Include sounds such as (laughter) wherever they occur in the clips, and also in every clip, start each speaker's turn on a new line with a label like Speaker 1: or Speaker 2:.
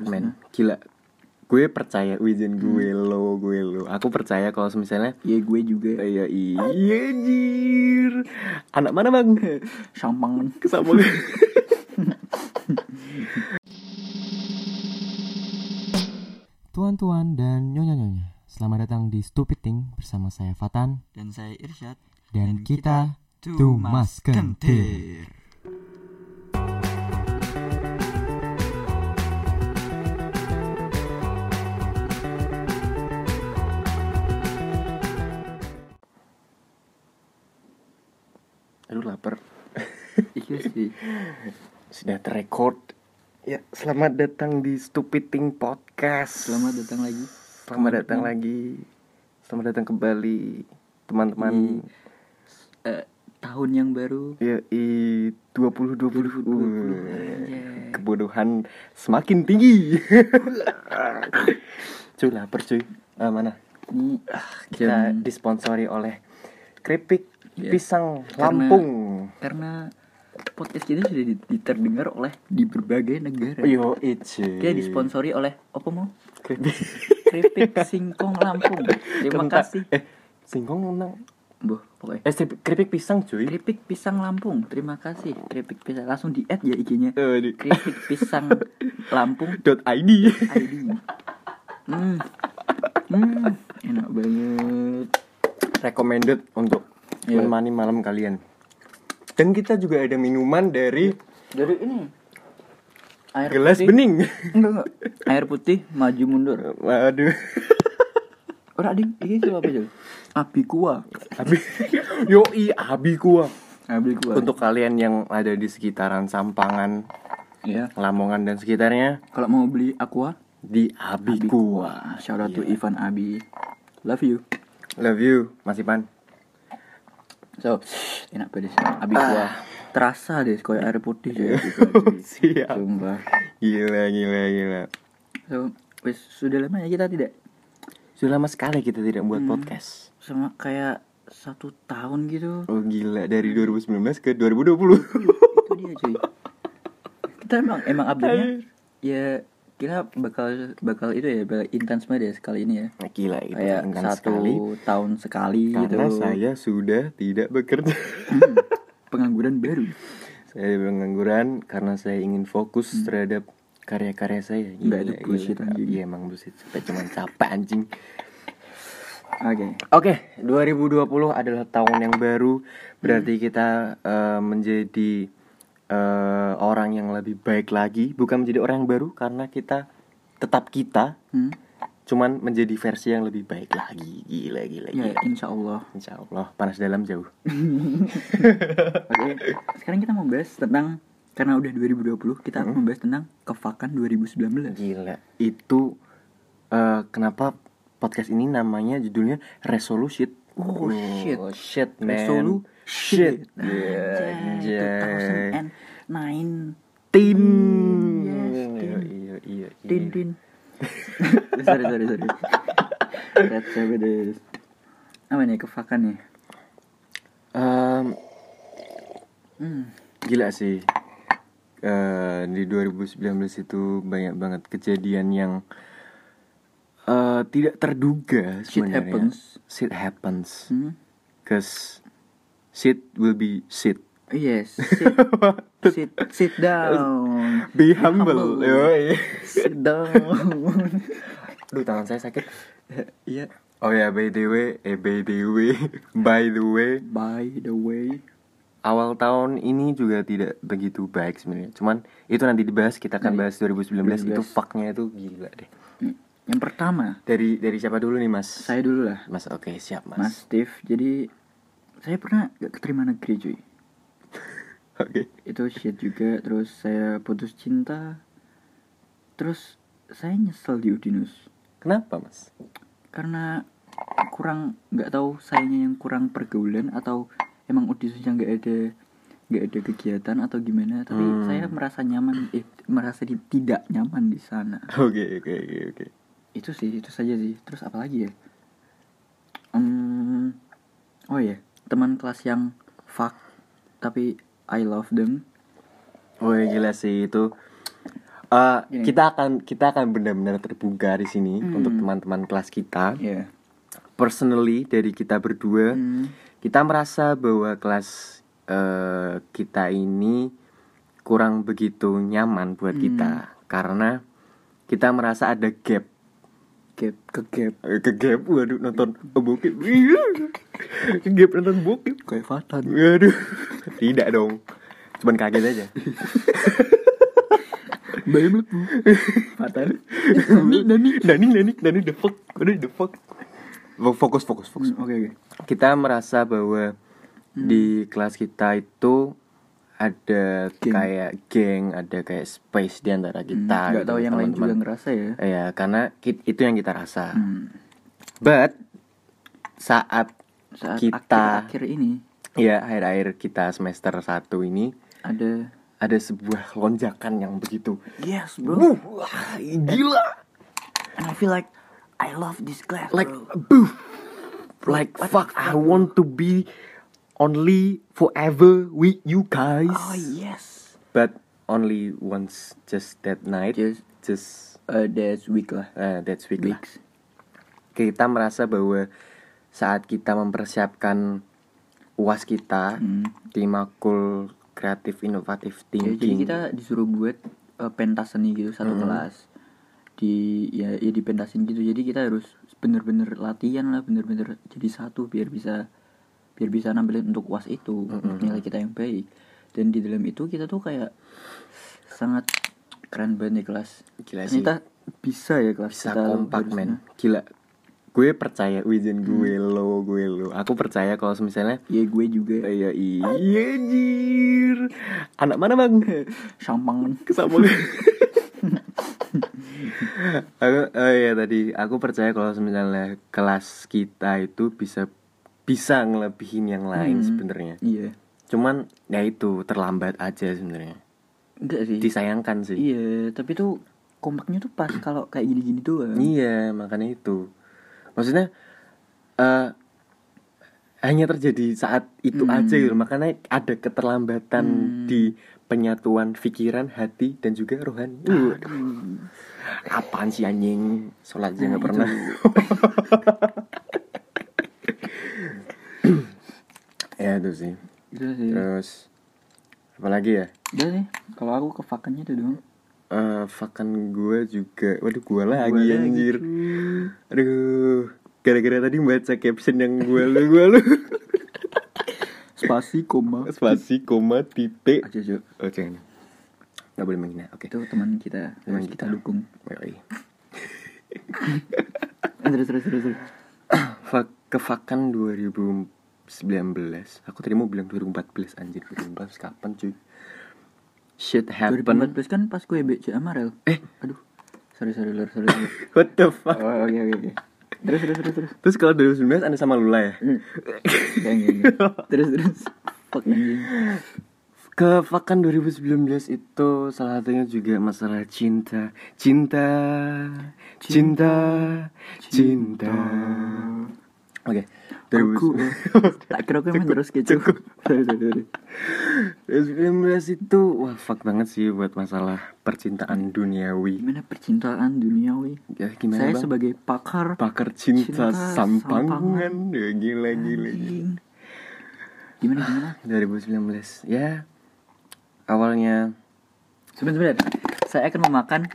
Speaker 1: men gila gue percaya wijen gue
Speaker 2: Hmm.
Speaker 1: lo gue lo aku percaya kalau misalnya
Speaker 3: Ya gue juga
Speaker 1: iya iya jir anak mana bang
Speaker 3: Sampang
Speaker 1: (laughs) kesambung
Speaker 2: Tuan-tuan dan nyonya-nyonya, selamat datang di Stupid Thing bersama saya Fatan
Speaker 4: dan saya Irsyad
Speaker 2: dan,
Speaker 4: Dan
Speaker 2: kita,
Speaker 4: Tumas
Speaker 2: Tumas Kentir.
Speaker 4: Kentir.
Speaker 1: aduh lapar
Speaker 3: Iya sih
Speaker 1: sudah terrecord ya selamat datang di stupid thing podcast
Speaker 3: Selamat datang lagi
Speaker 1: selamat datang lagi selamat datang kembali teman-teman
Speaker 3: Eh, Tahun yang baru
Speaker 1: ya i 20 20
Speaker 3: Anjay.
Speaker 1: kebodohan semakin
Speaker 3: (laughs)
Speaker 1: tinggi cuy lapar cuy Eh, mana
Speaker 3: Ini ah,
Speaker 1: kita
Speaker 3: jam-
Speaker 1: disponsori oleh keripik
Speaker 3: Iya.
Speaker 1: pisang
Speaker 3: Karena-
Speaker 1: Lampung.
Speaker 3: Karena podcast kita sudah di- diterdengar oleh Di berbagai negara
Speaker 1: Yo itu.
Speaker 3: Kita disponsori oleh Apa mau?
Speaker 1: (laughs) keripik.
Speaker 3: Keripik Singkong Lampung Terima
Speaker 1: Kentang.
Speaker 3: kasih
Speaker 1: Eh, singkong menang.
Speaker 3: Boh, pokoknya
Speaker 1: Eh, sip- keripik pisang cuy.
Speaker 3: Keripik Pisang Lampung Terima kasih Keripik Pisang Langsung di add ya IG-nya
Speaker 1: Eh, di-
Speaker 3: Keripik Pisang Lampung
Speaker 1: dot id.
Speaker 3: ID Hmm. Hmm. Enak banget
Speaker 1: Hmm, Recommended untuk
Speaker 3: Iya.
Speaker 1: menemani malam kalian. Dan kita juga ada minuman dari
Speaker 3: Dari ini air
Speaker 1: gelas
Speaker 3: putih.
Speaker 1: bening. (laughs)
Speaker 3: Enggak, enggak. Air putih maju mundur.
Speaker 1: Waduh.
Speaker 3: Ora ding, iki sih apa Jul? Abi kuah.
Speaker 1: (laughs) Abi. Yo i abi gua.
Speaker 3: Abi kuah.
Speaker 1: Untuk kalian yang ada di sekitaran Sampangan,
Speaker 3: ya,
Speaker 1: Lamongan dan sekitarnya
Speaker 3: kalau mau beli aqua,
Speaker 1: di Abi
Speaker 3: Abi
Speaker 1: Gua.
Speaker 3: kuah. Shout out to Ivan Abi. Love you.
Speaker 1: Love you, Mas Ipan.
Speaker 3: So, enak pedes. Abi kuah. Terasa deh kayak air putih ya. (laughs)
Speaker 1: Siap.
Speaker 3: Sumpah.
Speaker 1: Gila, gila, gila.
Speaker 3: So, wis sudah lama ya kita tidak
Speaker 1: Sudah lama sekali kita tidak buat podcast.
Speaker 3: sama kayak satu tahun gitu.
Speaker 1: Oh gila, dari 2019 ke (laughs) 2020.
Speaker 3: itu dia cuy kita emang emang update-nya ya kita bakal bakal itu ya bakal intens banget ya sekali ini ya
Speaker 1: Nah, gila itu
Speaker 3: kayak
Speaker 1: singkat
Speaker 3: satu
Speaker 1: sekali.
Speaker 3: tahun sekali gitu
Speaker 1: Karena saya sudah tidak bekerja. (laughs)
Speaker 3: Hmm, pengangguran baru
Speaker 1: saya pengangguran karena saya ingin fokus terhadap karya-karya saya.
Speaker 3: Hmm. Nggak, itu bullshit, anjing.
Speaker 1: Iya emang bullshit. Kita cuma capek anjing.
Speaker 3: oke
Speaker 1: Oke, 2020 adalah tahun yang baru. Berarti
Speaker 3: Hmm.
Speaker 1: kita eh, menjadi eh, orang yang lebih baik lagi, bukan menjadi orang yang baru karena kita tetap kita,
Speaker 3: Hmm,
Speaker 1: cuman menjadi versi yang lebih baik lagi. Gila gila
Speaker 3: ya
Speaker 1: gila.
Speaker 3: insya Allah
Speaker 1: Insya Allah panas dalam jauh.
Speaker 3: oke sekarang kita mau bahas tentang karena udah 2020 kita
Speaker 1: Hmm.
Speaker 3: mau bahas tentang kefakan 2019
Speaker 1: Gila. Itu eh, kenapa podcast ini namanya judulnya Resolution.
Speaker 3: Oh, shit.
Speaker 1: shit, man.
Speaker 3: resolu
Speaker 1: shit.
Speaker 3: Anjay, 2009
Speaker 1: Tin.
Speaker 3: Mm, Yes,
Speaker 1: Iya,
Speaker 3: tin.
Speaker 1: iya, iya, iya.
Speaker 3: Din din. (laughs) sorry sorry sorry. Kaca pedes. Apa nih kefakan nih?
Speaker 1: Em,
Speaker 3: Hmm.
Speaker 1: gila sih. Eh, di 2019 itu banyak banget kejadian yang eh, tidak terduga
Speaker 3: Shit
Speaker 1: sebenarnya.
Speaker 3: happens.
Speaker 1: Shit happens.
Speaker 3: Hmm.
Speaker 1: Cause shit will be shit.
Speaker 3: Yes. Sit, sit, sit down.
Speaker 1: Be humble.
Speaker 3: humble.
Speaker 1: Yoi.
Speaker 3: Sit down.
Speaker 1: Aduh tangan saya (laughs) sakit.
Speaker 3: Iya.
Speaker 1: Oh ya by the way, eh by the way, (laughs) by the way,
Speaker 3: By the way.
Speaker 1: awal tahun ini juga tidak begitu baik sebenarnya. Cuman itu nanti dibahas, kita akan bahas 2019 itu
Speaker 3: 2019.
Speaker 1: faknya itu gila deh.
Speaker 3: Hmm. Yang pertama,
Speaker 1: Dari dari siapa dulu nih Mas?
Speaker 3: saya dulu lah,
Speaker 1: Mas oke siap Mas.
Speaker 3: Mas Steve. Jadi saya pernah gak keterima negeri cuy.
Speaker 1: Oke.
Speaker 3: Itu shit juga. Terus saya putus cinta. Terus saya nyesel di Udinus.
Speaker 1: Kenapa Mas?
Speaker 3: karena kurang nggak tahu sayanya yang kurang pergaulan atau emang Udinusnya nggak ada nggak ada kegiatan atau gimana tapi
Speaker 1: Hmm.
Speaker 3: saya merasa nyaman eh, merasa di- tidak nyaman di sana
Speaker 1: (laughs) Oke oke oke oke.
Speaker 3: itu sih itu saja sih terus apa lagi ya Hmm, oh ya teman kelas yang fuck tapi I love them
Speaker 1: Oh, Wah gila sih ya, itu Eh,
Speaker 3: Gini.
Speaker 1: kita akan kita akan benar-benar terbuka di sini untuk teman-teman kelas kita.
Speaker 3: Iya.
Speaker 1: Personally dari kita berdua,
Speaker 3: Hmm.
Speaker 1: kita merasa bahwa kelas eh, kita ini kurang begitu nyaman buat kita karena kita merasa ada gap
Speaker 3: Gap ke gap
Speaker 1: Eh, ke gap waduh nonton bokep ke gap nonton bokep
Speaker 3: kayak Fatan.
Speaker 1: waduh tidak dong cuman kaget aja
Speaker 3: Bayi (laughs) melebu. Fatan. Nani.
Speaker 1: (laughs) Dani Dani Dani the fuck Dani the fuck Fo- fokus fokus fokus
Speaker 3: Hmm, Oke oke.
Speaker 1: kita merasa
Speaker 3: Hmm.
Speaker 1: bahwa di kelas kita itu ada
Speaker 3: Geng.
Speaker 1: kayak geng ada kayak space di antara kita
Speaker 3: Gak
Speaker 1: gitu,
Speaker 3: tahu yang lain juga
Speaker 1: teman-teman.
Speaker 3: ngerasa ya.
Speaker 1: Iya, karena ki- itu yang kita rasa
Speaker 3: Hmm.
Speaker 1: but saat,
Speaker 3: Saat
Speaker 1: kita
Speaker 3: akhir-akhir ini
Speaker 1: ya akhir-akhir kita semester 1 ini
Speaker 3: ada
Speaker 1: ada sebuah lonjakan yang begitu
Speaker 3: yes
Speaker 1: Wuh, wah, gila
Speaker 3: And I feel like I love this class
Speaker 1: like boof like fuck I want to be only forever with you guys
Speaker 3: Oh, yes.
Speaker 1: but only once just that night
Speaker 3: Just
Speaker 1: just
Speaker 3: uh, that's week lah.
Speaker 1: uh, that's week lah.
Speaker 3: Weeks.
Speaker 1: kita merasa bahwa saat kita mempersiapkan uas kita di makul kreatif inovatif thinking
Speaker 3: Ya, Hmm. jadi kita disuruh buat eh, pentas seni gitu satu kelas di ya, ya di pentasin gitu jadi kita harus bener-bener latihan lah bener-bener jadi satu biar bisa biar bisa nampilin untuk uas itu untuk nilai kita yang baik dan di dalam itu kita tuh kayak sangat keren banget ya kelas
Speaker 1: Gila Iya sih.
Speaker 3: ternyata bisa ya kelas
Speaker 1: bisa
Speaker 3: kita tuh
Speaker 1: kompak
Speaker 3: harusnya.
Speaker 1: men gila gue percaya izin gue
Speaker 3: Hmm.
Speaker 1: lo gue lo aku percaya kalau misalnya
Speaker 3: ya gue juga
Speaker 1: Iya iya jir Anak mana bang?
Speaker 3: sampang
Speaker 1: Sama Aku oh iya tadi Aku percaya kalau misalnya Kelas kita itu bisa Bisa ngelebihin yang lain sebenarnya
Speaker 3: iya
Speaker 1: Cuman ya itu terlambat aja sebenarnya
Speaker 3: enggak sih
Speaker 1: Disayangkan sih
Speaker 3: iya tapi tuh kompaknya tuh pas kalau kayak gini-gini doang
Speaker 1: Iya makanya itu Maksudnya eh hanya terjadi saat itu aja gitu makanya ada keterlambatan di penyatuan pikiran hati dan juga rohani Uh, apaan sih anjing sholat aja nggak pernah (laughs) ya itu sih
Speaker 3: Gitu sih
Speaker 1: Iya. terus apalagi ya
Speaker 3: Udah sih, kalau aku kefakannya itu dong.
Speaker 1: Eh fakan gue juga waduh gue lagi
Speaker 3: Gua lagi,
Speaker 1: anjir aduh gara-gara tadi baca caption yang gue lu gue lu
Speaker 3: Spasi koma.
Speaker 1: (laughs) spasi koma titik
Speaker 3: Aja Jo.
Speaker 1: oke Oh, nggak boleh menghina oke
Speaker 3: Itu teman kita,
Speaker 1: Teman
Speaker 3: harus
Speaker 1: kita.
Speaker 3: kita dukung.
Speaker 1: Yoi. (clears throat)
Speaker 3: Eh, terus terus terus. terus.
Speaker 1: Fak- kefakan 2019 aku tadi mau bilang 2014 anjir 2014 kapan cuy shit happen
Speaker 3: 2014 kan pas gue BC sama Rel.
Speaker 1: Eh.
Speaker 3: aduh. Sorry sorry lur sorry. sorry.
Speaker 1: what the fuck
Speaker 3: oh oke oke oke. Terus terus terus terus. Hmm.
Speaker 1: terus kalau 2019 anda sama Lula ya
Speaker 3: Jangan jangan. Terus terus. Fuck anjing.
Speaker 1: Kefakan 2019 itu salah satunya juga masalah cinta Cinta Cinta Cinta, Oke
Speaker 3: Aku
Speaker 1: 2019
Speaker 3: tak kira gue terus gitu. Sorry sorry sorry.
Speaker 1: 2019 itu wah fuck banget sih buat masalah percintaan duniawi
Speaker 3: Gimana percintaan duniawi?
Speaker 1: ya, Gimana
Speaker 3: Saya
Speaker 1: bang?
Speaker 3: sebagai pakar
Speaker 1: Pakar cinta,
Speaker 3: Cinta
Speaker 1: sampangan Ya, Gila gila gila
Speaker 3: anjing. Gimana gimana?
Speaker 1: 2019 ya Awalnya
Speaker 3: Sebentar, sebentar. Saya akan memakan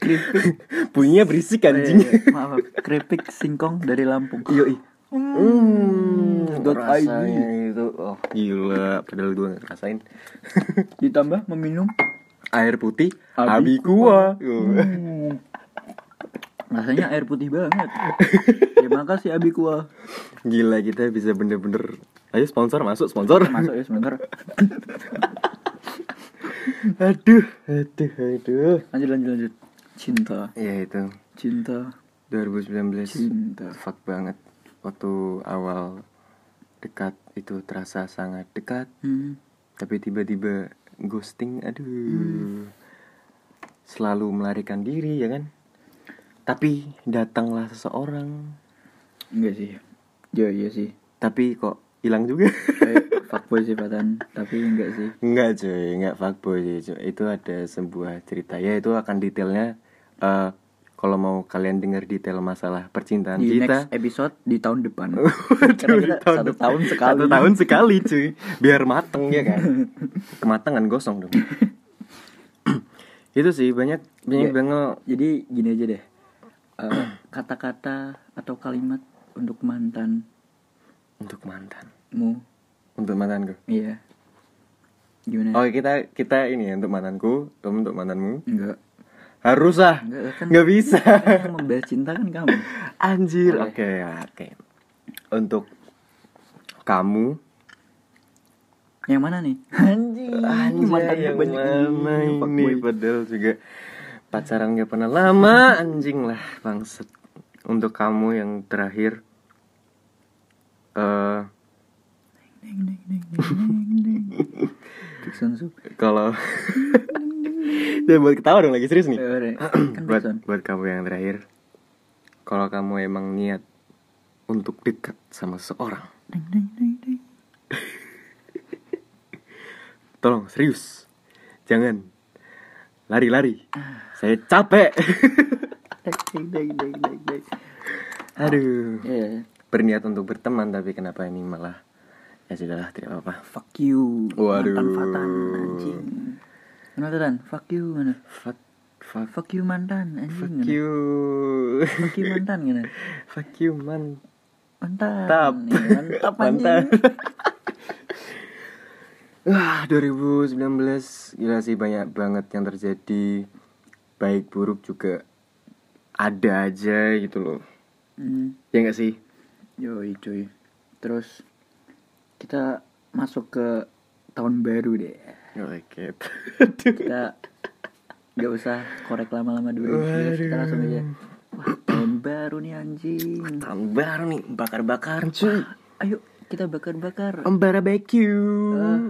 Speaker 3: keripik.
Speaker 1: Bunyinya berisik
Speaker 3: eh,
Speaker 1: anjing
Speaker 3: maaf, maaf. keripik singkong dari Lampung.
Speaker 1: Yoi Hmm,
Speaker 3: dot
Speaker 1: rasanya itu oh gila padahal gue gak ngerasain (laughs)
Speaker 3: Ditambah meminum.
Speaker 1: air putih
Speaker 3: Abi
Speaker 1: abikua
Speaker 3: Hmm. Rasanya air putih banget. Terima kasih Ah. Abi Kua.
Speaker 1: gila kita bisa bener-bener ayo sponsor masuk sponsor
Speaker 3: Masuk ya sebentar.
Speaker 1: aduh aduh aduh
Speaker 3: Lanjut lanjut lanjut. Cinta,
Speaker 1: ya itu
Speaker 3: cinta,
Speaker 1: 2019
Speaker 3: cinta.
Speaker 1: fuck banget waktu awal dekat itu terasa sangat dekat
Speaker 3: Hmm.
Speaker 1: tapi tiba-tiba ghosting aduh
Speaker 3: Hmm.
Speaker 1: selalu melarikan diri ya kan tapi datanglah seseorang
Speaker 3: Enggak sih. Ya iya sih.
Speaker 1: tapi kok hilang juga (laughs)
Speaker 3: kayak fuckboy sih Fatan tapi enggak sih
Speaker 1: Enggak cuy, enggak fuckboy sih cuy. Itu ada sebuah cerita ya itu akan detailnya eh kalau mau kalian dengar detail masalah percintaan
Speaker 3: di Iya, next
Speaker 1: kita
Speaker 3: episode di tahun
Speaker 1: (laughs)
Speaker 3: depan
Speaker 1: Waduh,
Speaker 3: Karena kita
Speaker 1: tahun
Speaker 3: satu
Speaker 1: depan.
Speaker 3: tahun
Speaker 1: (laughs)
Speaker 3: sekali
Speaker 1: Satu tahun sekali cuy Biar mateng ya kan
Speaker 3: (laughs)
Speaker 1: Kematangan gosong dong (clears throat) Itu sih banyak banyak
Speaker 3: Ya.
Speaker 1: banget
Speaker 3: jadi gini aja deh Eh, (clears throat) kata-kata atau kalimat untuk mantanmu
Speaker 1: Untuk mantan Untuk mantanku
Speaker 3: iya gimana
Speaker 1: Oke kita kita ini ya untuk mantanku Kamu untuk mantanmu
Speaker 3: enggak
Speaker 1: Harus ah
Speaker 3: Enggak, kan-
Speaker 1: Nggak bisa
Speaker 3: yang (laughs) membahas cinta kan kamu
Speaker 1: Anjir. Oke,
Speaker 3: Oke.
Speaker 1: oke. Untuk kamu
Speaker 3: yang mana nih anjing mantannya
Speaker 1: yang
Speaker 3: banyak
Speaker 1: mana
Speaker 3: ini,
Speaker 1: ini
Speaker 3: fuckboy.
Speaker 1: padahal juga pacaran gak pernah lama anjing lah bangset untuk kamu yang terakhir eh
Speaker 3: Neng, neng, neng, neng, neng, neng. Jackson Sub.
Speaker 1: kalau (laughs) Jangan buat ketawa dong lagi serius nih
Speaker 3: Eh,
Speaker 1: (clears throat)
Speaker 3: ore. kan
Speaker 1: buat
Speaker 3: Jackson.
Speaker 1: buat kamu yang terakhir kalau kamu emang niat untuk dekat sama seseorang
Speaker 3: Neng, neng, neng, neng.
Speaker 1: Tolong serius Jangan Lari-lari Saya capek
Speaker 3: Neng, neng, neng, neng, neng.
Speaker 1: Aduh
Speaker 3: Ya, ya, ya.
Speaker 1: Berniat untuk berteman Tapi kenapa ini malah Ya sudahlah tidak apa-apa
Speaker 3: fuck you
Speaker 1: Waduh.
Speaker 3: mantan Fatan anjing mana tuh Dan? fuck you mana
Speaker 1: Fuck Fuck,
Speaker 3: fuck you mantan anjing
Speaker 1: fuck
Speaker 3: mana?
Speaker 1: you (laughs)
Speaker 3: fuck you mantan mana
Speaker 1: Fuck you man
Speaker 3: mantan
Speaker 1: Mantap.
Speaker 3: Ya,
Speaker 1: (laughs)
Speaker 3: mantap
Speaker 1: Mantan.
Speaker 3: mantan
Speaker 1: Wah 2019 Gila sih banyak banget yang terjadi Baik buruk juga Ada aja gitu loh
Speaker 3: hmm.
Speaker 1: Ya gak sih?
Speaker 3: yoi cuy terus kita masuk ke tahun baru deh
Speaker 1: (laughs) Oke (laughs)
Speaker 3: kita nggak usah korek lama-lama dulu Terus kita langsung aja wah tahun baru nih anjing
Speaker 1: Tahun baru nih Bakar-bakar cuy
Speaker 3: ayo kita bakar-bakar
Speaker 1: Om barbecue.
Speaker 3: Ah.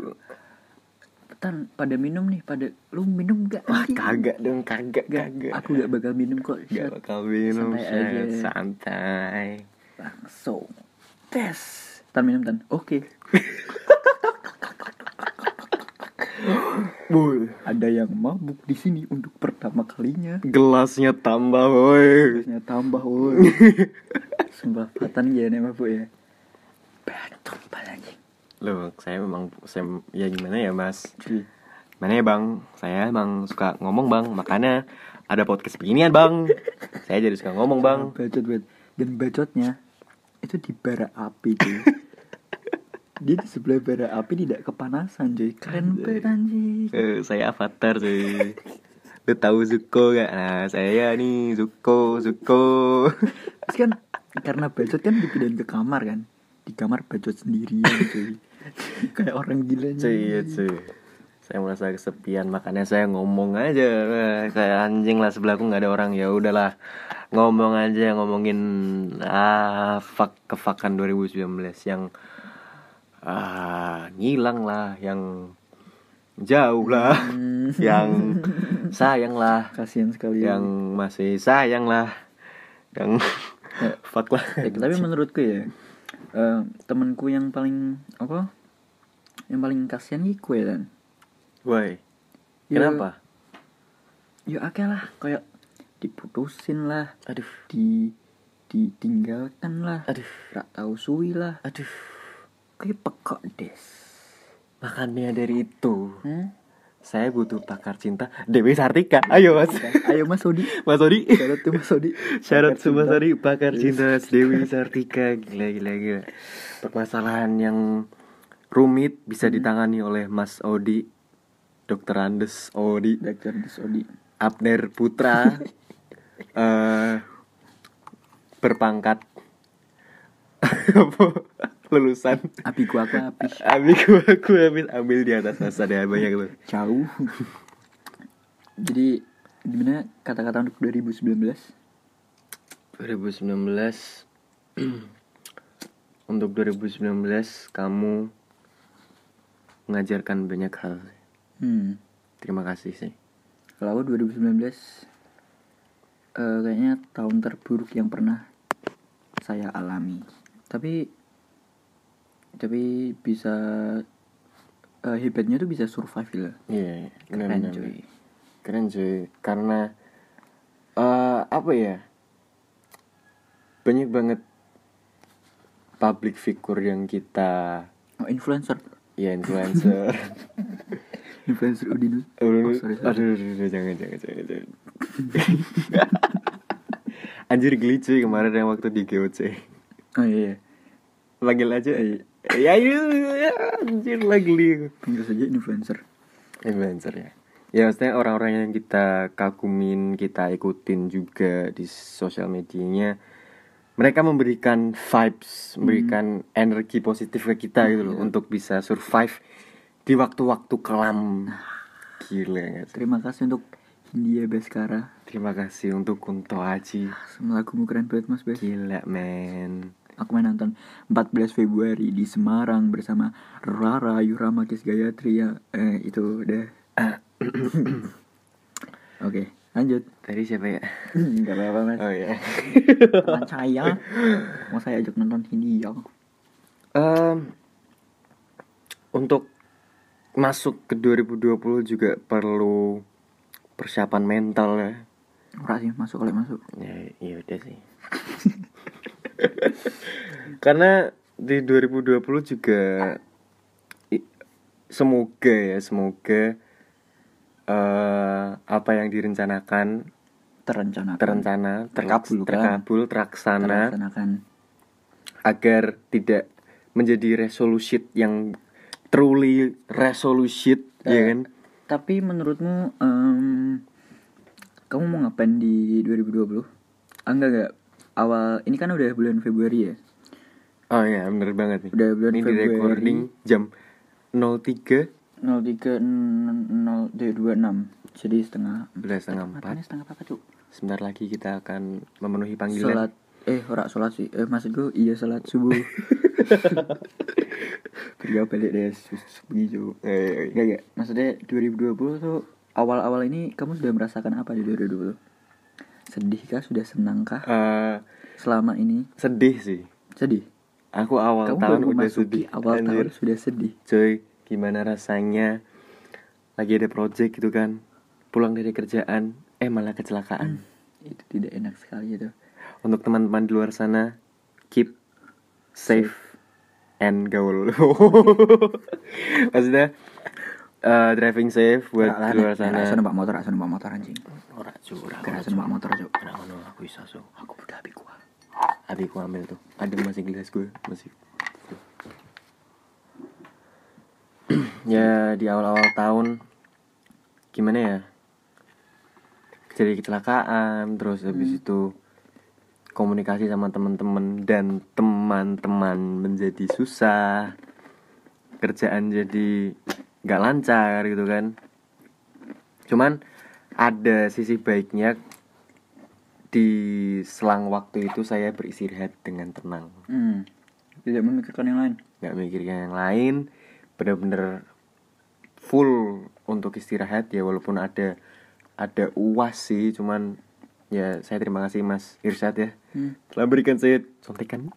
Speaker 3: Tan, pada minum nih, pada lu minum gak?
Speaker 1: Wah, kagak dong, kagak,
Speaker 3: Gak,
Speaker 1: kagak.
Speaker 3: aku gak bakal minum kok.
Speaker 1: Gak
Speaker 3: Shot.
Speaker 1: bakal minum,
Speaker 3: Santai
Speaker 1: Shay.
Speaker 3: aja.
Speaker 1: santai.
Speaker 3: Langsung. Tes. Tan minum tan. Oke.
Speaker 1: Boy,
Speaker 3: Ada yang mabuk di sini untuk pertama kalinya.
Speaker 1: gelasnya tambah, boy.
Speaker 3: Terusnya tambah
Speaker 1: (laughs)
Speaker 3: woi. Sumpah Fatan ya nih mabuk ya. Batuk banget anjing.
Speaker 1: Loh, saya memang saya ya gimana ya, Mas?
Speaker 3: Cuy.
Speaker 1: Mana ya, Bang? Saya emang suka ngomong, Bang. Makanya ada podcast beginian, Bang. saya jadi suka ngomong, Bang.
Speaker 3: Bacot banget. Dan bacotnya itu di bara api cuy.
Speaker 1: (laughs)
Speaker 3: Dia di sebelah bara api tidak kepanasan cuy. Keren banget anjing.
Speaker 1: Eh, saya avatar sih. Lu tahu Zuko gak? Nah, saya nih Zuko, Zuko.
Speaker 3: Terus kan karena bacot kan dipindahin ke kamar kan. Di kamar bacot sendirian
Speaker 1: (laughs)
Speaker 3: cuy. Kayak orang gila
Speaker 1: Cuy,
Speaker 3: nih.
Speaker 1: iya, cuy. Saya merasa kesepian makanya saya ngomong aja Eh, kayak anjing lah sebelahku nggak ada orang ya udahlah ngomong aja ngomongin ah fuck kefakan 2019 yang ah ngilang lah yang jauh lah Hmm. yang sayang lah
Speaker 3: Kasihan sekali.
Speaker 1: yang masih sayang lah yang fuck lah
Speaker 3: Ya, tapi menurutku ya eh, temanku yang paling apa? Yang paling kasihan nih kue kan.
Speaker 1: woi
Speaker 3: Ya,
Speaker 1: kenapa
Speaker 3: Ya oke lah kayak diputusin lah,
Speaker 1: aduh
Speaker 3: di ditinggalkan lah.
Speaker 1: Aduh.
Speaker 3: Gak tahu suwi lah.
Speaker 1: aduh
Speaker 3: Kayak pekok des.
Speaker 1: makanya dari itu
Speaker 3: Hmm?
Speaker 1: Saya butuh pakar cinta Dewi Sartika. Ayo Mas.
Speaker 3: Ayo Mas Odi.
Speaker 1: Mas Odi.
Speaker 3: Syarat tuh Mas Odi.
Speaker 1: Syarat
Speaker 3: Syarat
Speaker 1: Mas
Speaker 3: cinta.
Speaker 1: Odi pakar cinta Dewi Sartika. Gila gila gila. Permasalahan yang rumit bisa ditangani oleh Mas Odi. Dokter Andes Odi,
Speaker 3: Dokter Mas Odi.
Speaker 1: Abner Putra. eh berpangkat (laughs) Apa? lulusan
Speaker 3: Api gua aku api.
Speaker 1: ambil gua aku ambil ambil di atas dasar ya banyak loh
Speaker 3: jauh (laughs) jadi gimana kata-kata untuk 2019
Speaker 1: 2019 (clears throat) untuk 2019 kamu mengajarkan banyak hal
Speaker 3: hmm
Speaker 1: terima kasih sih
Speaker 3: kalau aku 2019 eh, kayaknya tahun terburuk yang pernah saya alami tapi tapi bisa eh, hebatnya tuh bisa survive lah
Speaker 1: Iya, benar,
Speaker 3: keren
Speaker 1: benar,
Speaker 3: cuy
Speaker 1: benar. Keren cuy, karena eh apa ya? Banyak banget public figure yang kita
Speaker 3: oh, influencer
Speaker 1: ya (laughs) influencer.
Speaker 3: influencer Udinus
Speaker 1: aduh,
Speaker 3: oh, sorry,
Speaker 1: aduh,
Speaker 3: sorry.
Speaker 1: aduh, aduh, jangan, jangan, jangan, jangan. (laughs) Anjir geli cuy kemarin yang waktu di GOC.
Speaker 3: oh iya, iya.
Speaker 1: Panggil aja. Ya, ya, ya, anjir lagi geli. aku.
Speaker 3: panggil saja influencer
Speaker 1: influencer ya ya maksudnya orang-orang yang kita kagumin kita ikutin juga di sosial medianya mereka memberikan vibes memberikan energi positif ke kita gitu loh untuk bisa survive di waktu-waktu kelam gila nggak sih?
Speaker 3: terima kasih untuk Hindia Baskara
Speaker 1: terima kasih untuk Kunto Aji
Speaker 3: lagumu keren banget mas Bas
Speaker 1: gila men
Speaker 3: aku main nonton 14 Februari di Semarang bersama Rara Yurama Kis Gayatri ya eh, itu (coughs) udah oke lanjut
Speaker 1: tadi siapa ya
Speaker 3: (coughs) nggak apa-apa mas
Speaker 1: oh ya
Speaker 3: teman saya mau saya ajak nonton ya. Hindia
Speaker 1: Em, untuk masuk ke 2020 juga perlu persiapan mental ya.
Speaker 3: Ora sih masuk oleh masuk
Speaker 1: Ya, iya udah sih. (laughs) Karena di 2020 juga i- semoga ya, semoga eh apa yang direncanakan
Speaker 3: terencana
Speaker 1: terencana, terkabul,
Speaker 3: Terkabulkan.
Speaker 1: terkabul, teraksana
Speaker 3: terlaksanakan
Speaker 1: agar tidak menjadi resolusi yang truly resolusi
Speaker 3: Ah.
Speaker 1: ya kan
Speaker 3: tapi menurutmu em, kamu mau ngapain di 2020 ah, enggak enggak awal ini kan udah bulan Februari ya
Speaker 1: oh iya bener banget nih
Speaker 3: Udah bulan
Speaker 1: ini di
Speaker 3: Februari.
Speaker 1: recording jam 03
Speaker 3: 03.026 jadi setengah
Speaker 1: udah setengah empat
Speaker 3: matanya setengah apa tuh
Speaker 1: sebentar lagi kita akan memenuhi panggilan
Speaker 3: sholat eh ora sholat sih eh maksud gue iya sholat subuh kerja balik deh sus- begitu
Speaker 1: Eh, eh, eh.
Speaker 3: enggak enggak maksudnya 2020 tuh awal-awal ini kamu sudah merasakan apa di 2020 sedih kah sudah senang kah
Speaker 1: Eh,
Speaker 3: selama ini
Speaker 1: sedih sih
Speaker 3: sedih
Speaker 1: aku awal
Speaker 3: kamu
Speaker 1: tahun
Speaker 3: baru
Speaker 1: udah
Speaker 3: memasuki
Speaker 1: sedih
Speaker 3: awal
Speaker 1: Anjir.
Speaker 3: tahun sudah sedih
Speaker 1: cuy gimana rasanya lagi ada project gitu kan pulang dari kerjaan eh malah kecelakaan
Speaker 3: itu tidak enak sekali itu
Speaker 1: untuk teman-teman di luar sana keep safe and gaul (laughs) maksudnya eh, driving safe buat di luar sana
Speaker 3: Kerasan numpak motor, kerasan numpak motor anjing.
Speaker 1: ora curah
Speaker 3: Kerasan numpak motor, Cuk.
Speaker 1: ora ngono aku iso so
Speaker 3: Aku udah habis gua.
Speaker 1: abi ku ambil tuh ada masih gelas gue masih ya di awal-awal tahun gimana ya jadi kecelakaan terus
Speaker 3: Hmm.
Speaker 1: habis itu komunikasi sama teman-teman dan teman-teman menjadi susah kerjaan jadi nggak lancar gitu kan cuman ada sisi baiknya di selang waktu itu saya beristirahat dengan tenang
Speaker 3: Hmm. Tidak memikirkan yang lain.
Speaker 1: nggak mikirkan yang lain bener-bener full untuk istirahat ya walaupun ada ada uas sih cuman ya saya terima kasih mas Irsyad ya
Speaker 3: Hmm.
Speaker 1: telah berikan saya contekan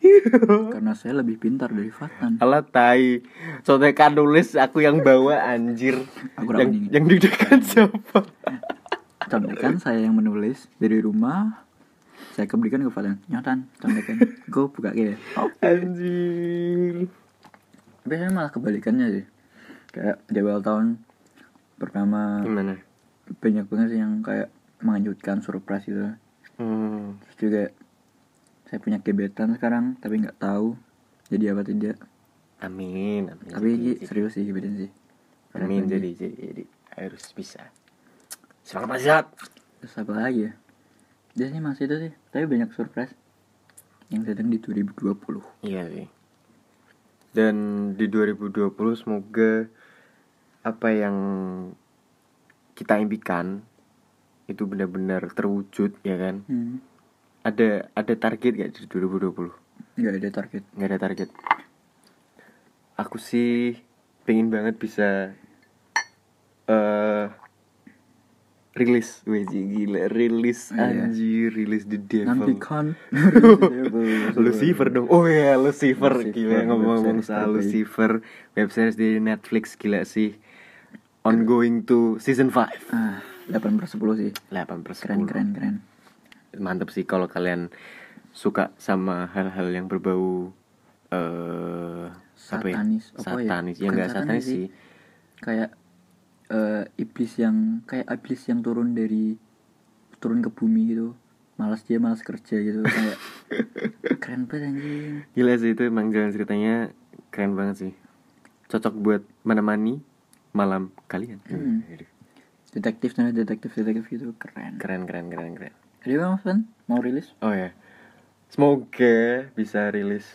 Speaker 3: Karena saya lebih pintar dari Fatan.
Speaker 1: ala tai contekan nulis aku yang bawa anjir
Speaker 3: Aku
Speaker 1: yang
Speaker 3: rawan ini.
Speaker 1: yang deg-degan siapa
Speaker 3: Contekan saya yang menulis dari rumah. Saya kembalikan ke Fatan. "Ya, Nyotan, (laughs) contekan. Go buka "Oh." ke.
Speaker 1: anjir
Speaker 3: Biasanya malah kebalikannya sih. Kayak di awal tahun pertama
Speaker 1: gimana
Speaker 3: banyak banget sih yang kayak mengejutkan surprise gitu.
Speaker 1: hmm,
Speaker 3: Terus juga saya punya gebetan sekarang tapi nggak tahu jadi apa tidak.
Speaker 1: amin amin
Speaker 3: Tapi ini serius Ya, gitu sih gebetan sih.
Speaker 1: amin jadi jadi, jadi harus bisa semangat mas Irsyad
Speaker 3: Terus apa lagi ya? Dia sih masih itu sih, tapi banyak surprise yang datang di 2020.
Speaker 1: Iya sih. Dan di 2020 semoga apa yang kita impikan itu benar-benar terwujud ya kan.
Speaker 3: Hmm.
Speaker 1: Ada ada target gak di 2020?
Speaker 3: Nggak ada target.
Speaker 1: Nggak ada target. Aku sih pengen banget bisa eh rilis wih gila rilis
Speaker 3: Iya.
Speaker 1: anjir rilis the devil
Speaker 3: nantikan
Speaker 1: (laughs) Lucifer dong. Oh iya, Lucifer.
Speaker 3: Lucifer,
Speaker 1: gila ngomong-ngomong
Speaker 3: web series
Speaker 1: soal
Speaker 3: terbaik.
Speaker 1: Lucifer, web series di Netflix gila sih. Ongoing to season 5.
Speaker 3: ah 8 per 10 sih
Speaker 1: 8 per
Speaker 3: keren
Speaker 1: 10.
Speaker 3: keren keren
Speaker 1: Mantap sih kalau kalian suka sama hal-hal yang berbau eh apa ya?
Speaker 3: Satanis, apa ya?
Speaker 1: Satanis. Ya
Speaker 3: Bukan
Speaker 1: enggak
Speaker 3: satanis
Speaker 1: satanis sih.
Speaker 3: kayak eh, iblis yang kayak iblis yang turun dari turun ke bumi gitu malas dia malas kerja gitu
Speaker 1: (laughs)
Speaker 3: kayak keren banget anjing
Speaker 1: Gila sih itu emang jalan ceritanya keren banget sih. Cocok buat menemani malam kalian.
Speaker 3: Hmm. detektif nah detektif detektif gitu keren
Speaker 1: Keren keren keren keren.
Speaker 3: jadi bang Fan mau rilis
Speaker 1: Oh ya. Semoga bisa rilis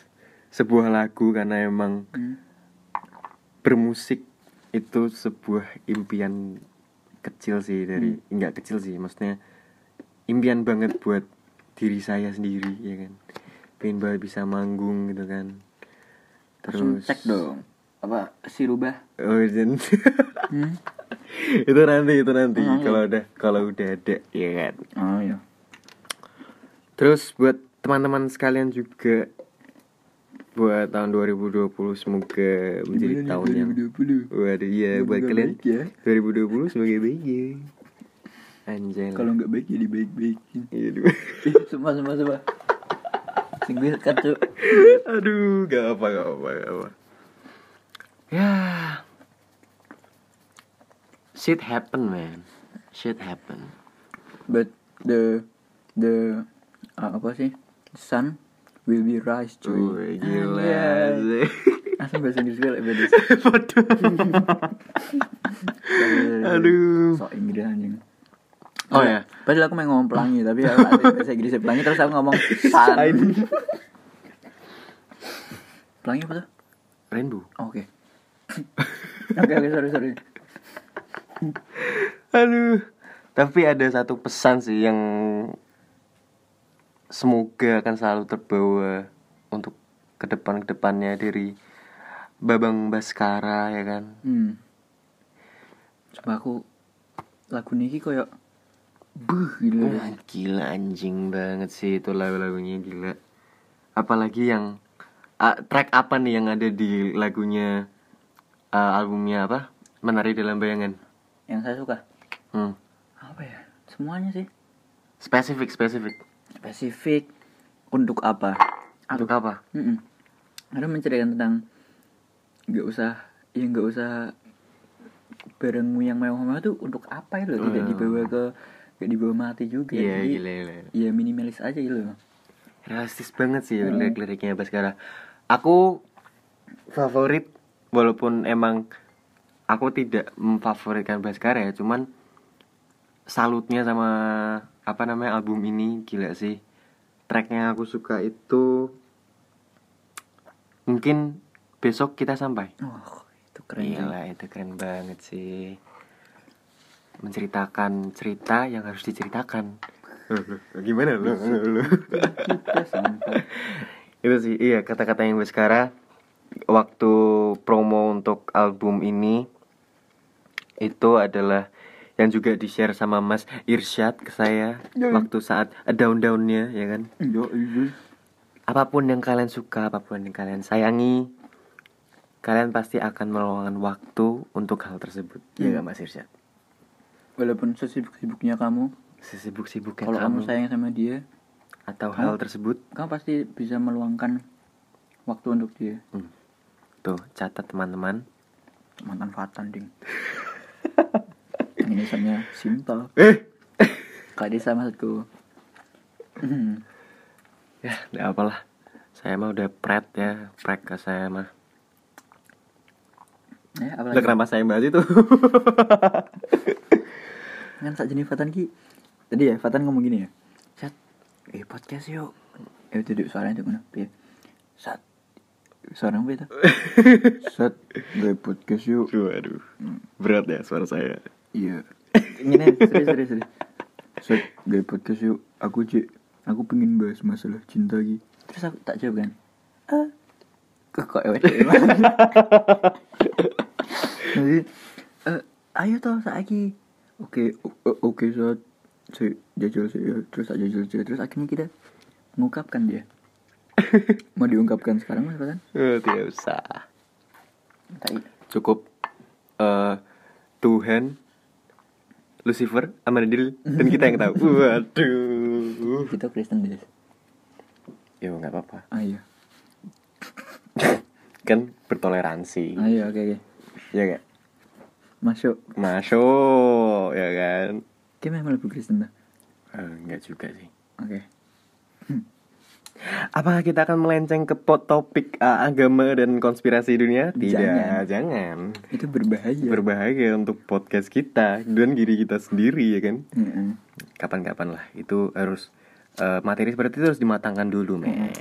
Speaker 1: sebuah lagu karena emang
Speaker 3: Hmm.
Speaker 1: bermusik itu sebuah impian kecil sih dari
Speaker 3: Hmm.
Speaker 1: enggak kecil sih maksudnya impian banget buat diri saya sendiri ya kan. Pengen banget bisa manggung gitu kan.
Speaker 3: terus
Speaker 1: Terus
Speaker 3: cek dong apa si rubah
Speaker 1: Oh, dan-
Speaker 3: Hmm?
Speaker 1: (laughs) itu nanti itu nanti
Speaker 3: Hmm,
Speaker 1: kalau udah kalau udah ada ya kan.
Speaker 3: oh iya
Speaker 1: Terus buat teman-teman sekalian juga buat tahun 2020 semoga menjadi tahun yang
Speaker 3: 2020.
Speaker 1: Waduh iya buat
Speaker 3: Semoga
Speaker 1: kalian
Speaker 3: baik ya.
Speaker 1: 2020 sebagai baik ya. Anjay.
Speaker 3: kalau nggak baik jadi baik baikin
Speaker 1: Iya, aduh.
Speaker 3: (laughs)
Speaker 1: (laughs)
Speaker 3: semua semua semua kan, sing gue kacau
Speaker 1: aduh gak apa gak apa gak apa. Ya. Shit happen man. Shit happen.
Speaker 3: but the the uh, apa sih the sun will be rise
Speaker 1: Cuy,
Speaker 3: cuy Ah,
Speaker 1: gila sih. (laughs)
Speaker 3: asal bahasa Inggris gue lebih bagus
Speaker 1: Aduh.
Speaker 3: sok Inggris anjing
Speaker 1: Oh ya.
Speaker 3: Padahal aku main ngomong pelangi tapi aku nggak ngerti bahasa Inggris pelangi terus aku ngomong sun. pelangi apa tuh?
Speaker 1: Rainbow.
Speaker 3: Oh, Oke. Oke oke sorry sorry.
Speaker 1: Aduh. Tapi ada satu pesan sih yang semoga akan selalu terbawa untuk ke depan ke depannya dari Babang Baskara ya kan.
Speaker 3: Hmm. Coba aku lagu niki koyo buh gitu.
Speaker 1: Wah, gila anjing banget sih itu lagu-lagunya gila. Apalagi yang ah, track apa nih yang ada di lagunya ah, albumnya apa? Menari dalam bayangan.
Speaker 3: Yang saya suka
Speaker 1: Hmm.
Speaker 3: apa ya? Semuanya sih.
Speaker 1: Spesifik spesifik.
Speaker 3: Spesifik untuk apa?
Speaker 1: Untuk apa?
Speaker 3: Mm-mm. Karena menceritakan tentang nggak usah ya nggak usah barangmu yang mewah-mewah tuh untuk apa itu loh tidak dibawa ke nggak dibawa mati juga
Speaker 1: Iya
Speaker 3: Jadi,
Speaker 1: gila gila.
Speaker 3: ya minimalis aja gitu loh
Speaker 1: realistis banget sih lirik-liriknya Baskara. Aku favorit walaupun emang aku tidak memfavoritkan Baskara ya, cuman salutnya sama apa namanya album ini gila sih. Tracknya yang aku suka itu mungkin besok kita sampai.
Speaker 3: oh itu keren banget.
Speaker 1: Gila itu keren banget sih. Menceritakan cerita yang harus diceritakan. Gimana (laughs) lu?
Speaker 3: kita sampai
Speaker 1: itu sih iya kata-kata yang Baskara waktu promo untuk album ini itu adalah yang juga di share sama Mas Irsyad ke saya
Speaker 3: Iya.
Speaker 1: waktu saat down downnya ya kan
Speaker 3: yo itu
Speaker 1: apapun yang kalian suka apapun yang kalian sayangi kalian pasti akan meluangkan waktu untuk hal tersebut
Speaker 3: Hmm.
Speaker 1: ya nggak, Mas Irsyad
Speaker 3: walaupun sesibuk-sibuknya kamu
Speaker 1: sesibuk-sibuknya
Speaker 3: kalau kamu sayang sama dia
Speaker 1: atau hal tersebut
Speaker 3: kamu pasti bisa meluangkan waktu untuk dia
Speaker 1: tuh catat teman-teman
Speaker 3: mantan fatan ding ini misalnya simpel
Speaker 1: eh
Speaker 3: kalau dia sama maksudku (clears throat) Hmm.
Speaker 1: ya nggak apalah saya mah udah pret ya prek ke saya mah
Speaker 3: Ya, apalagi
Speaker 1: Lah kenapa saya bahas itu?
Speaker 3: kan saat jenis Fatan ki tadi ya Fatan ngomong gini ya Sat, eh podcast yuk eh itu duduk suaranya itu mana Piye? Sat, suara apa itu Sat, gue podcast yuk
Speaker 1: (laughs) Waduh. Berat ya suara saya.
Speaker 3: iya ini serius serius serius Sat, gue podcast yuk aku cek aku pengen bahas masalah cinta ki terus aku tak jawab kan ah kok kok ewe jadi eh, ayo toh eh, saiki oke o- o- oke so saya jajal saya terus tak jajal saya terus akhirnya kita mengungkapkan dia mau diungkapkan sekarang mas kan? Fatan
Speaker 1: Eh, tidak usah
Speaker 3: tai
Speaker 1: cukup eh, Tuhan Lucifer Amanadil dan kita yang (laughs) tahu waduh
Speaker 3: kita Kristen deh
Speaker 1: ya nggak apa-apa
Speaker 3: ayo
Speaker 1: kan bertoleransi
Speaker 3: ayo Ah, iya, oke oke
Speaker 1: ya kan
Speaker 3: masuk
Speaker 1: masuk ya kan
Speaker 3: kita memang lebih Kristen dah
Speaker 1: Eh, nggak juga sih
Speaker 3: oke
Speaker 1: Apakah kita akan melenceng ke pot topik uh, agama dan konspirasi dunia?
Speaker 3: Jangan.
Speaker 1: Tidak, jangan. Iya.
Speaker 3: itu berbahaya
Speaker 1: Berbahaya untuk podcast kita dan diri kita sendiri ya kan.
Speaker 3: Heeh.
Speaker 1: Kapan-kapan lah itu harus eh, materi seperti itu harus dimatangkan dulu, men.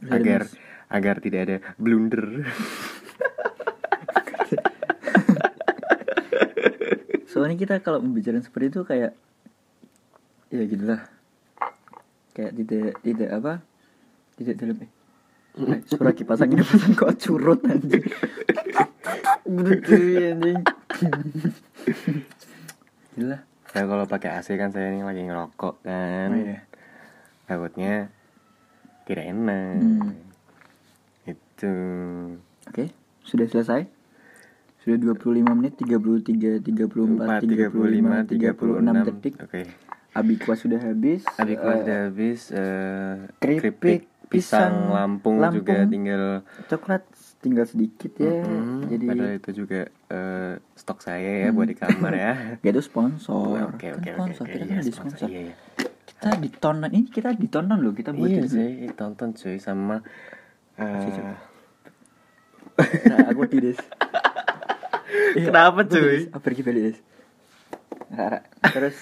Speaker 3: Terus ada
Speaker 1: Agar
Speaker 3: Hmm. Iya, mas-
Speaker 1: agar tidak ada blunder. (laughs)
Speaker 3: soalnya kita kalau membicarakan seperti itu kayak ya gitulah kayak tidak tidak apa tidak dalam eh, eh, suara kipas angin kipas angin (laughs) kok curut anjing Betul, anjing gila
Speaker 1: Saya kalau pakai AC kan saya ini lagi ngerokok kan.
Speaker 3: Oh, iya.
Speaker 1: Takutnya tidak enak.
Speaker 3: Hmm.
Speaker 1: Itu.
Speaker 3: oke sudah selesai sudah 25 menit 33 34 35 36 detik
Speaker 1: Oke.
Speaker 3: abikwa sudah habis
Speaker 1: Abik
Speaker 3: Eh,
Speaker 1: udah habis eh,
Speaker 3: keripik,
Speaker 1: keripik,
Speaker 3: pisang,
Speaker 1: pisang, Lampung, juga
Speaker 3: Lampung.
Speaker 1: tinggal
Speaker 3: coklat tinggal sedikit ya
Speaker 1: Mm-mm.
Speaker 3: jadi Hmm.
Speaker 1: padahal itu juga eh, stok saya ya buat di kamar ya.
Speaker 3: (laughs) Gak itu sponsor.
Speaker 1: Oke oke
Speaker 3: Kan
Speaker 1: oke.
Speaker 3: Sponsor,
Speaker 1: oke,
Speaker 3: kita
Speaker 1: iya,
Speaker 3: kan ada
Speaker 1: Oh, sponsor,
Speaker 3: sponsor.
Speaker 1: Iya, iya.
Speaker 3: Kita ditonton ini kita ditonton loh kita buat
Speaker 1: Iya
Speaker 3: ini.
Speaker 1: sih, tonton cuy sama eh,
Speaker 3: Nah, aku di des. Iya,
Speaker 1: (laughs) Kenapa,
Speaker 3: aku di
Speaker 1: cuy?
Speaker 3: des. Aku pergi balik des. Rara.
Speaker 1: (laughs)
Speaker 3: Terus.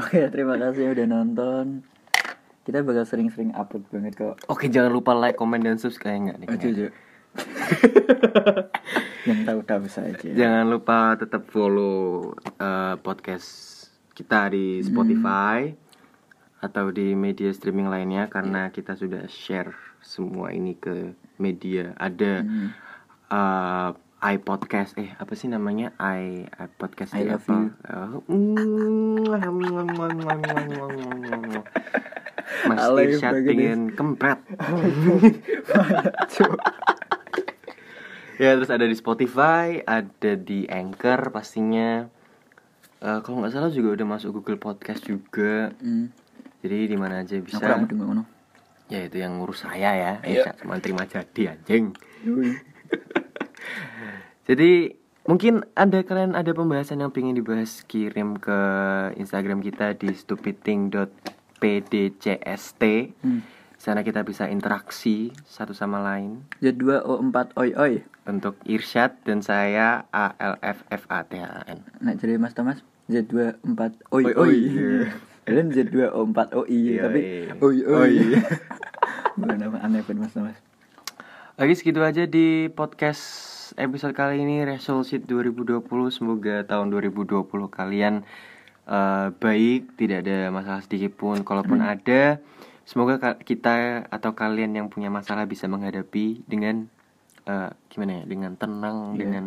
Speaker 3: Oke, terima kasih udah nonton. Kita bakal sering-sering upload banget kok.
Speaker 1: Oke jangan lupa like, comment dan subscribe enggak nih.
Speaker 3: Aja
Speaker 1: (laughs)
Speaker 3: aja. Yang tahu-tahu saja.
Speaker 1: Jangan lupa tetap follow eh, podcast kita di Spotify atau di media streaming lainnya karena kita sudah share semua ini ke media. Ada
Speaker 3: Hmm,
Speaker 1: eh, iPodcast eh apa sih namanya? i iPodcast
Speaker 3: I
Speaker 1: di
Speaker 3: love
Speaker 1: apa?
Speaker 3: you.
Speaker 1: Eh, Mas
Speaker 3: (laughs) Alay
Speaker 1: Irsyad
Speaker 3: banget,
Speaker 1: pengen
Speaker 3: (laughs)
Speaker 1: kempret. (laughs) Ya terus ada di Spotify, ada di Anchor pastinya. Eh, kalau nggak salah juga udah masuk Google Podcast juga.
Speaker 3: Hmm.
Speaker 1: Jadi di mana aja bisa.
Speaker 3: Aku ramu dengan ono.
Speaker 1: Ya itu yang ngurus saya ya. Ya
Speaker 3: Iya.
Speaker 1: cuma terima jadi anjing. Jadi mungkin ada kalian ada pembahasan yang pengen dibahas kirim ke Instagram kita di stupidthing.pdcst.
Speaker 3: Hmm.
Speaker 1: Di Sana kita bisa interaksi satu sama lain
Speaker 3: Ya, Z2O4 oh, oi oi.
Speaker 1: untuk Irsyad dan saya ALFFATHAN.
Speaker 3: Nah, jadi Mas Thomas Z24
Speaker 1: Oi,
Speaker 3: oi oi.
Speaker 1: oi.
Speaker 3: (laughs) Kalian Z24 oi
Speaker 1: Iya,
Speaker 3: ya, tapi
Speaker 1: iya.
Speaker 3: oi oi. (laughs)
Speaker 1: Oi.
Speaker 3: Bukan nama aneh buat Mas Thomas.
Speaker 1: Oke segitu aja di podcast episode kali ini Resolusi 2020 Semoga tahun 2020 kalian eh, baik Tidak ada masalah sedikit pun Kalaupun
Speaker 3: Hmm.
Speaker 1: ada Semoga ka- kita atau kalian yang punya masalah bisa menghadapi dengan eh, Gimana ya, dengan tenang
Speaker 3: Iya.
Speaker 1: Dengan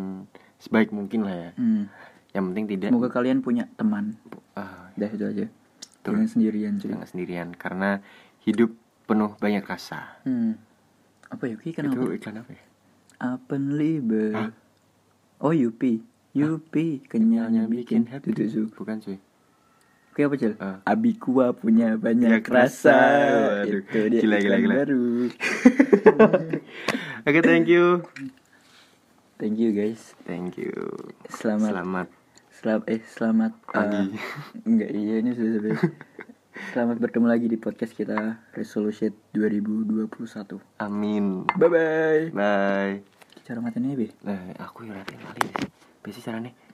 Speaker 1: sebaik mungkin lah ya
Speaker 3: Hmm.
Speaker 1: Yang penting tidak
Speaker 3: Semoga kalian punya teman.
Speaker 1: ah,
Speaker 3: Dah itu aja.
Speaker 1: Betul.
Speaker 3: Jangan sendirian cuy.
Speaker 1: jangan sendirian Karena hidup penuh banyak rasa
Speaker 3: Hmm. Apa Yuki
Speaker 1: Itu
Speaker 3: kenapa?
Speaker 1: iklan apa ya?
Speaker 3: Apen libe.
Speaker 1: Hah?
Speaker 3: Oh Yupi. Yupi kenyalnya bikin happy.
Speaker 1: happy Bukan cuy
Speaker 3: Oke apa Cil?
Speaker 1: Ah.
Speaker 3: Abikuwa punya banyak
Speaker 1: Banyak rasa.
Speaker 3: rasa.
Speaker 1: Waduh.
Speaker 3: Itu dia
Speaker 1: Gila, gila,
Speaker 3: iklan
Speaker 1: gila.
Speaker 3: baru.
Speaker 1: (laughs) Oke thank you
Speaker 3: Thank you guys.
Speaker 1: Thank you.
Speaker 3: Selamat
Speaker 1: Selamat.
Speaker 3: Selam eh selamat
Speaker 1: Pagi.
Speaker 3: eh, (laughs) enggak iya ini sudah sampai. selamat bertemu lagi di podcast kita Resolution 2021.
Speaker 1: Amin.
Speaker 3: Bye bye.
Speaker 1: Bye.
Speaker 3: Cara ya? matanya be.
Speaker 1: Nah, aku yang latihan kali. ya. Biasa caranya.